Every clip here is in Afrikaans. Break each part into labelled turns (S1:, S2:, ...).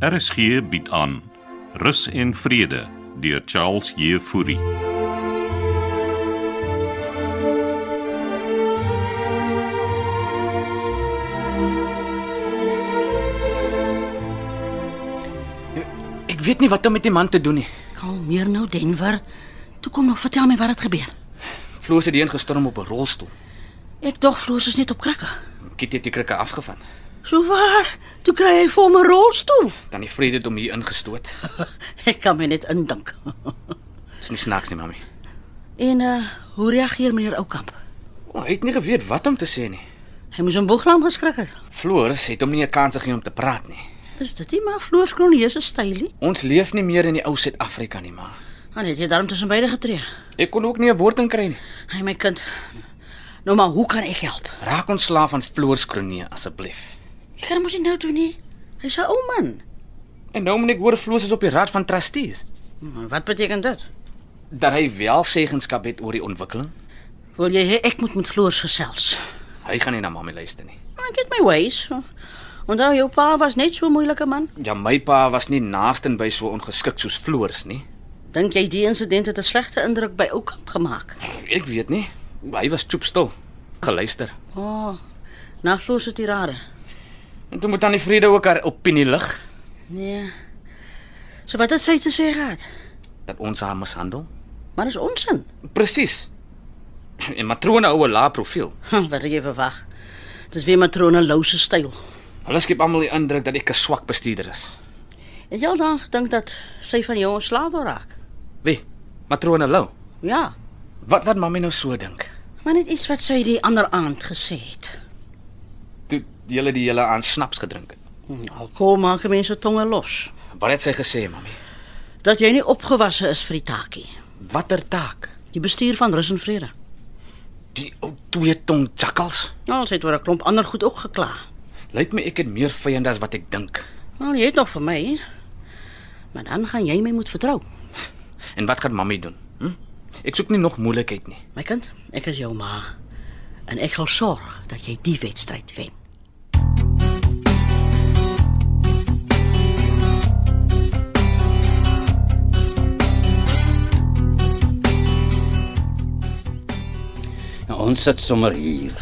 S1: RSG bied aan Rus en Vrede deur Charles Jefouri.
S2: Ek weet nie wat om met die man te doen nie.
S3: Kalmeer nou Denver. Toe kom nog vertel my wat het gebeur.
S2: Floos het heen gestorm op 'n rolstoel.
S3: Ek dog Floors is net op krikke.
S2: Kitty het die krikke afgevang.
S3: So waar? Toe kry hy vir my 'n rolstoel.
S2: Dan die vrede het hom hier ingestoot.
S3: Ek kan my net indink.
S2: Dis nie snaaks nie, mami.
S3: En uh hoe reageer meneer Oukamp?
S2: Oh, hy het nie geweet wat om te sê nie.
S3: Hy moes hom boeglam geskrik het.
S2: Floors het hom nie 'n kans gegee om te praat nie.
S3: Is dit nie maar Floors Kronje se stylie?
S2: Ons leef nie meer in die ou Suid-Afrika nie, maar
S3: Dan het hy daarom tussen beide getree.
S2: ek kon ook nie 'n woord in kry nie.
S3: Hy my kind. Nou maar, hoe kan ek help?
S2: Raak ons slaaf van Floors Kronee asseblief.
S3: Ek kan mos nie nou doen nie. Hy's 'n ou man.
S2: En nou moet ek hoor Floors is op die raad van trustees
S3: Maar Wat beteken dit?
S2: dat hy wel seggenskap het oor die ontwikkeling.
S3: Wil jy hê ek moet met Floors gesels?
S2: Hy gaan nie na mami luister nie.
S3: Maar Ek het my ways. Onthou jou pa was net so 'n moeilike man.
S2: Ja, my pa was nie naasten by so ongeskik soos Floors nie.
S3: Dink jy die insident het 'n slegte indruk by Oukamp gemaak?
S2: Ek weet nie. Hy was stoepstil. Geluister.
S3: O, oh, na Floors se tirade.
S2: En toe moet dan die vrede ook haar opinie lig
S3: Nee. So wat het sy te sê gehad?
S2: dat ons haar mishandel.
S3: Maar dis onsin.
S2: Presies. En matrone hou 'n lae profiel.
S3: Hm, Wat het jy verwag? Dis weer matrone louse styl.
S2: Hulle skep almal die indruk dat ek 'n swak bestuurder is.
S3: Het jy al dan gedink dat sy van jou ontslae wil raak?
S2: Wie? Matrone Lou.
S3: Ja,
S2: Wat wat mami nou so dink?
S3: maar net iets wat sy die ander aand gesê het.
S2: Toe julle die hele aan snaps gedrink het.
S3: Hm, Alkohol maak mense tonge los.
S2: Wat het sy gesê, mami?
S3: Dat jy nie opgewasse is vir die taakie.
S2: Watter taak?
S3: Die bestuur van Rus en Vrede.
S2: Die ou twee tong jakkals.
S3: Nou, ons het oor 'n klomp ander goed ook gekla.
S2: Lyk my ek het meer vyande as wat ek dink.
S3: Wel, jy het Nou, nog vir my. hè? Maar dan gaan jy my moet vertrou.
S2: En wat gaan mami doen? Hm? Ek soek nie nog moeilikheid nie.
S3: My kind, ek is jou ma en ek sal sorg dat jy die wedstryd wen.
S4: Nou, ons sit sommer hier.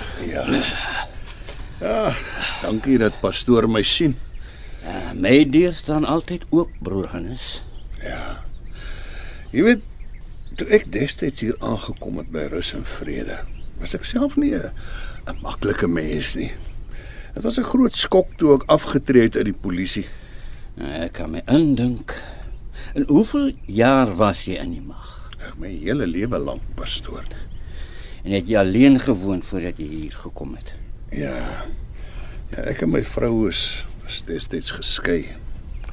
S5: Dankie dat pastoor my sien.
S4: Uh, my deur staan altyd oop, broer Hannes.
S5: Jy weet, toe ek destyds hier aangekom het by Rus en Vrede, was ek self nie 'n 'n maklike mens nie. Dit was 'n groot skok toe ek afgetree het uit die polisie.
S4: Uh, ek kan my indink. En hoeveel jaar was jy in die mag?
S5: Ek my hele lewe lank pastoor.
S4: En het jy alleen gewoon voordat jy hier gekom het?
S5: Ja. Ja, ek en my vrou is was destyds geskei.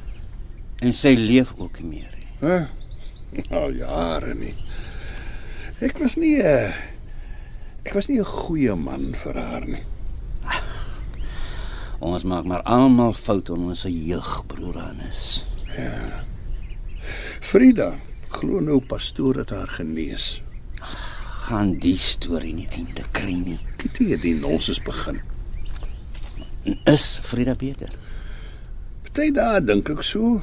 S4: En sy leef ook nie meer. nie.
S5: Hè? Al jare nie. Ek was nie 'n ek was nie 'n goeie man vir haar nie.
S4: Ons maak maar almal foute in ons jeug, broer Hannes.
S5: Frida glo nou pastoor het haar genees.
S4: Gaan die storie nie einde kry nie.
S5: Kitty het die nonsens begin.
S4: En is Frida beter?
S5: Party dae dink ek so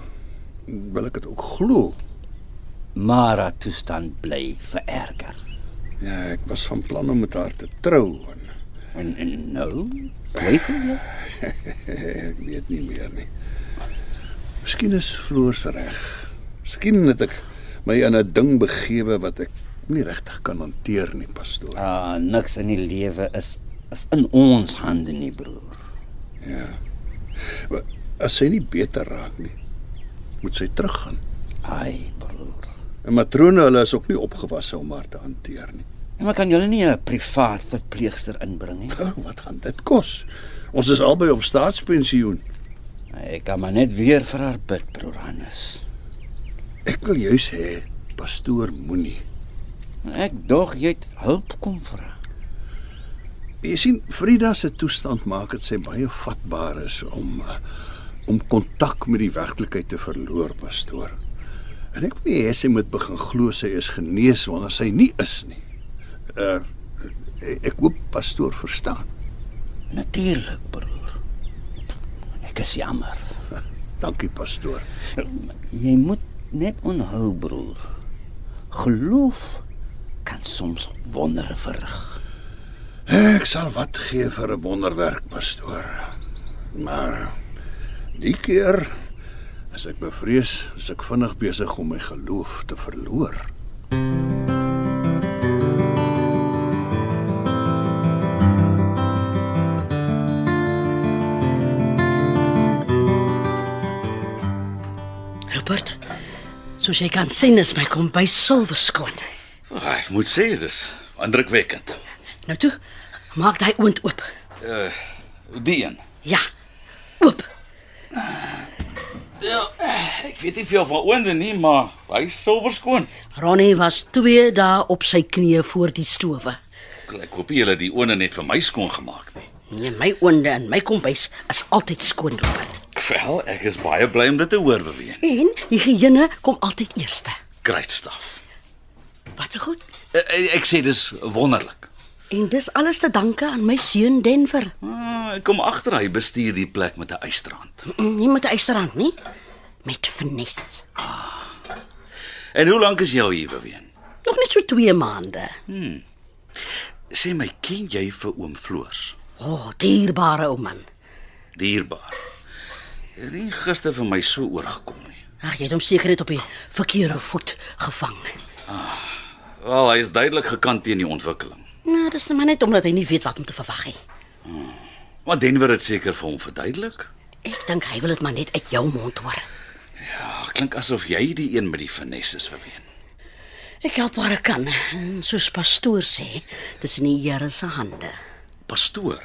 S5: wil ek dit ook glo.
S4: Maar haar toestand bly vererger.
S5: Ja, ek was van plan om met haar te trou en
S4: En, en nou, twyfel jy?
S5: ek weet nie meer nie. Miskien is Floors reg. Miskien het ek my in 'n ding begewe wat ek nie regtig kan hanteer nie, pastoor.
S4: Ah, niks in die lewe is is in ons hande nie, broer.
S5: Maar As sy nie beter raak nie, moet sy teruggaan.
S4: Ai, broer.
S5: En matrone hulle is ook nie opgewasse om haar te hanteer nie.
S4: En Ja, maar kan julle nie 'n privaat verpleegster inbring nie?
S5: Oh, wat gaan dit kos? Ons is albei op staatspensioen.
S4: Ek kan maar net weer vir haar bid, broer Hannes.
S5: Ek wil juis hê pastoor moenie
S4: Ek dog jy het hulp kom vra.
S5: Jy sien Frida se toestand maak dit sy baie vatbaar is om eh, om kontak met die werklikheid te verloor, pastoor. En ek wil nie hê sy moet begin glo sy is genees wanneer sy nie is nie. Uh ek hoop pastoor verstaan.
S4: Natuurlik, broer. Ek is jammer.
S5: Dankie pastoor.
S4: Jy moet net onthou, broer. Geloof kan soms wondere verrig.
S5: Ek sal wat gee vir 'n wonderwerk, pastoor. Maar die keer as ek bevrees, is ek vinnig besig om my geloof te verloor.
S3: Rupert, soos jy kan sien is my kombuis silwer skoon.
S6: Oh, ek moet sê dis indrukwekkend. Eh,
S3: Nou toe, maak daai oond oop.
S6: Die een.
S3: Ja. Oop.
S6: Ja, Ek weet nie veel van oonde nie, maar hy is silverskoon.
S3: Ronnie was 2 dae op sy knieë voor die stowe.
S6: Ek hoop nie julle het die oonde net vir my skoon gemaak nie.
S3: Nee, my oonde en my kombuis is altyd skoon, Rupert.
S6: Wel, ek is baie bly om dit te hoor, Beween.
S3: En higiëne kom altyd eerste.
S6: Great stuff.
S3: Wat se so goed.
S6: Eh, Ek sê dis wonderlik.
S3: En dis alles te danke aan my seun Denver.
S6: Ah, Ek kom agter hy bestuur die plek met 'n ysterhand.
S3: Nie met 'n eisterhand nie, met finesse.
S6: En hoe lank is jy al hier, Beween?
S3: Nog net so 2 maande.
S6: Sê my, ken jy vir oom Floors?
S3: O, oh, dierbare ou man.
S6: Dierbaar. Hy het nie gister vir my so oorgekom nie.
S3: Ag, jy het hom seker net op die verkeerde voet gevang.
S6: Wel, hy is duidelik gekant teen die ontwikkeling.
S3: Nou, dis nou maar net omdat hy nie weet wat om te verwag nie.
S6: Maar Denver het seker vir hom verduidelik.
S3: Ek dink hy wil dit maar net uit jou mond hoor.
S6: Ag, klink asof jy die een met die finesse is, Beween.
S3: Ek help waar ek kan. En soos pastoor sê, dis in die Here se hande.
S6: Pastoor.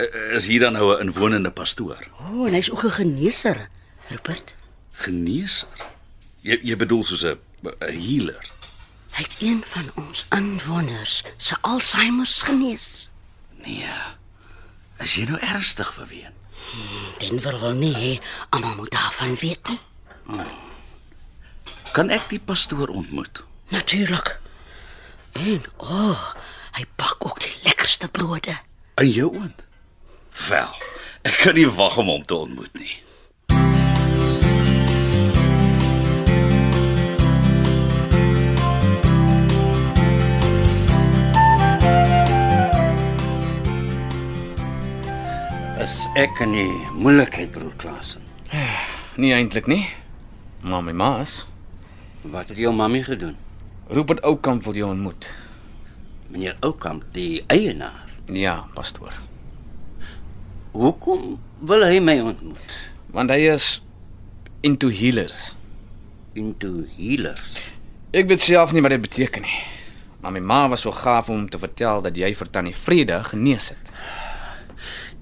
S6: Eh, Is hier dan nou 'n inwonende pastoor?
S3: O, oh, en hy's ook 'n geneeser, Rupert.
S6: Geneeser. Jy jy bedoel soos 'n 'n healer.
S3: Hy het een van ons inwoners se Alzheimer genees.
S6: Nee. Is jy nou ernstig verween?
S3: Denver wil nie hê almal moet daarvan weet nie.
S6: Kan ek die pastoor ontmoet?
S3: Natuurlik. En o, oh, hy bak ook die lekkerste brode.
S6: In jou oond? Wel, ek kan nie wag om hom te ontmoet nie.
S4: Is ek in die moeilikheid, broer Klasen?
S2: Nie eintlik Nee, nie. Maar my ma is.
S4: Wat het jou mammie gedoen?
S2: Rupert Oukamp wil jou ontmoet.
S4: Meneer Oukamp, die eienaar.
S2: Ja, pastoor.
S4: Hoekom wil hy my ontmoet?
S2: Want hy is into healers.
S4: Into healers.
S2: Ek weet self nie wat dit beteken nie. Maar my ma was so gaaf om te vertel dat jy vir tannie Vrede genees het.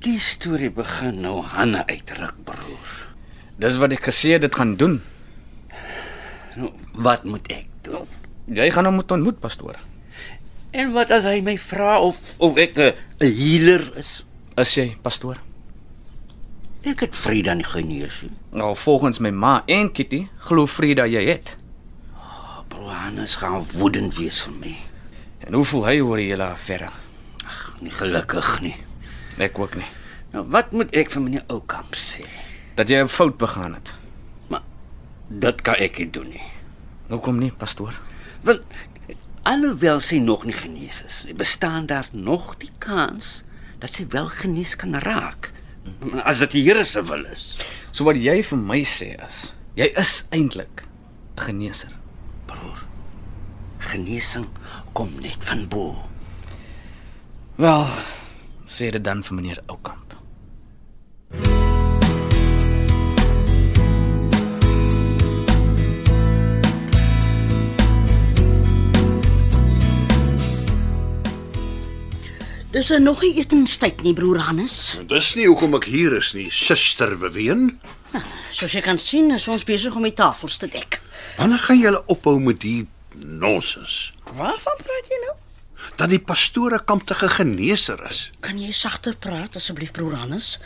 S4: Die storie begin nou Hanne uitruk, broer.
S2: Dis wat ek gesê het dit gaan doen.
S4: Nou, wat moet ek doen?
S2: Jy gaan hom moet ontmoet, pastoor.
S4: Nou, En wat as hy my vra of of ek 'n 'n healer is?
S2: Is jy pastoor?
S4: Ek het Frida nie genees nie.
S2: Nou volgens my ma en Kitty glo Vrede jy het.
S4: Broer Hannes gaan woedend wees vir my.
S2: En hoe voel hy oor die hele affære?
S4: Nie gelukkig nie.
S2: Ek ook nie.
S4: Nou, wat moet ek vir meneer Oukamp sê?
S2: Dat jy 'n fout begaan het.
S4: Maar dit kan ek nie doen nie.
S2: Hoekom nie, pastoor?
S4: Wel alhoewel sy nog nie genees is, bestaan daar nog die kans dat sy wel genees kan raak. As dit die Here se wil is.
S2: So wat jy vir my sê is, jy is eintlik 'n geneeser.
S4: Genesing kom net van bo.
S2: Wel, sê dit dan vir meneer Oukamp.
S3: Dis er nog nie etenstyd nie, broer Hannes.
S5: Dis nie hoekom ek hier is nie, suster Beween.
S3: Soos jy kan sien, is ons besig om die tafels te dek.
S5: Wanneer gaan julle ophou met die nonsens
S3: Waarvan praat jy nou?
S5: dat die pastoor 'n kamptige geneeser is?
S3: Kan jy sagter praat asseblief, broer Hannes?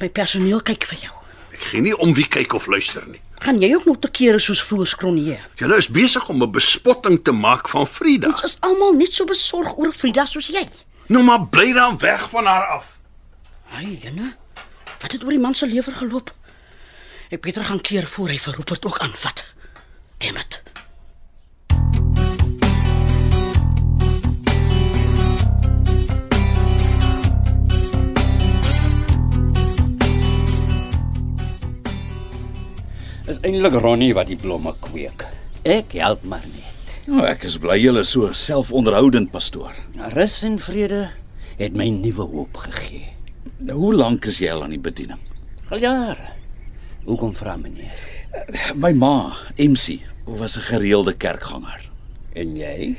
S3: My personeel kyk vir jou.
S5: Ek gee nie om wie kyk of luister nie.
S3: Gaan jy ook nog te kere soos vroeër skronie?
S5: Julle is besig om 'n bespotting te maak van Frida.
S3: Ons is almal net so besorg oor Frida soos jy.
S5: Nou maar bly dan weg van haar af.
S3: Ai, Jenne. Wat het oor die man se lewer geloop? Ek beter gaan keer voor hy vir Rupert ook aanvat. Damn it.
S4: Is eintlik Ronnie wat die blomme kweek. Ek help maar net.
S6: Nou, ek is bly julle is so selfonderhoudend, pastoor.
S4: Rus en vrede het my nuwe hoop gegee.
S6: Nou, hoe lank is jy al aan die bediening?
S4: Al jare. Hoekom vra meneer?
S6: My ma, MC, was 'n gereelde kerkganger.
S4: En jy?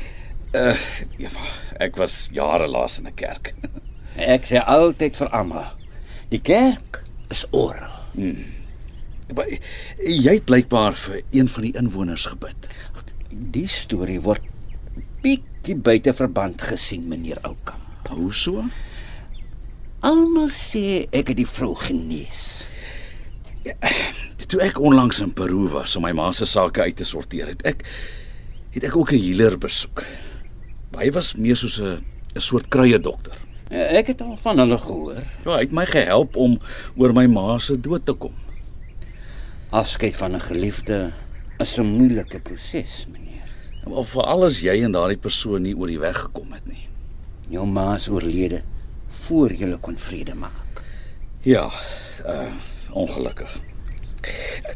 S6: Uh, Eva, ek was jare laas in 'n kerk.
S4: Ek sê altyd vir Amma, die kerk is oral.
S6: Maar jy het blykbaar vir een van die inwoners gebid.
S4: Die storie word bietjie buite verband gesien, meneer Oukamp.
S6: Hoe so?
S4: Almal sê ek het die vrou genees.
S6: Toe ek onlangs in Peru was om my ma se sake uit te sorteer, het ek het ek ook 'n healer besoek. Maar Hy was meer soos 'n 'n soort kruie dokter.
S4: Ek het al van hulle gehoor.
S6: Ja, hy het my gehelp om oor my ma se dood te kom.
S4: Afskeid van 'n geliefde is 'n moeilike proses, meneer.
S6: Maar veral as jy en daardie persoon nie oor die weg gekom het nie.
S4: Jou ma is oorlede voor jy kon vrede maak.
S6: Ja, uh ongelukkig.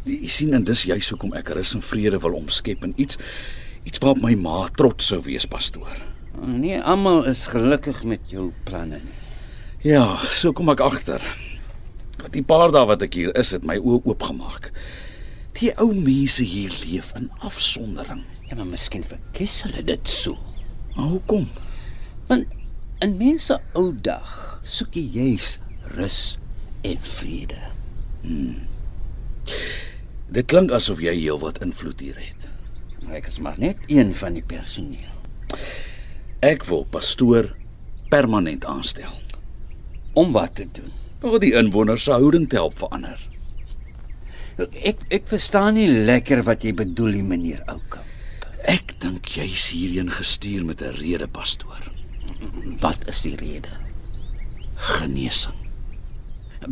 S6: Jy sien en dis juis hoekom ek rus en vrede wil omskep in iets iets waarop my ma trots sou wees, pastoor.
S4: Nee, almal is gelukkig met jou planne. nie.
S6: Ja, so kom ek agter. Wat die paar dae wat ek hier is, het my oë oopgemaak. Die ou mense hier leef in afsondering.
S4: Ja, maar miskien verkies hulle dit so.
S6: Maar hoekom?
S4: Want in mense ou dag soek jy juis rus en vrede.
S6: Dit klink asof jy heelwat invloed hier het.
S4: Ek is maar net een van die personeel.
S6: Ek wil pastoor permanent aanstel.
S4: Om wat te doen?
S6: Om die inwoners se houding te help verander.
S4: Ek ek verstaan nie lekker wat jy bedoel, nie, meneer Oukamp.
S6: Ek dink jy's hierheen gestuur met 'n rede, pastoor.
S4: Wat is die rede?
S6: Genesing.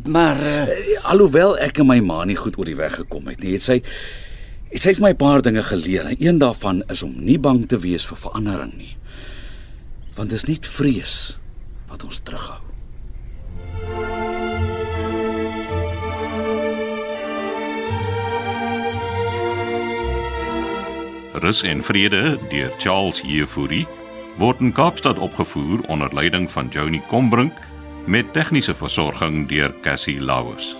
S4: Maar uh,
S6: Eh, Alhoewel ek en my ma nie goed oor die weg gekom het nie, het sy het sy vir my 'n paar dinge geleer. En een daarvan is om nie bang te wees vir verandering nie. Want dis net vrees wat ons terughou.
S1: Rus en Vrede deur Charles Jefouri word in Kaapstad opgevoer onder leiding van Johnny Combrink met tegniese versorging deur Cassie Lauers.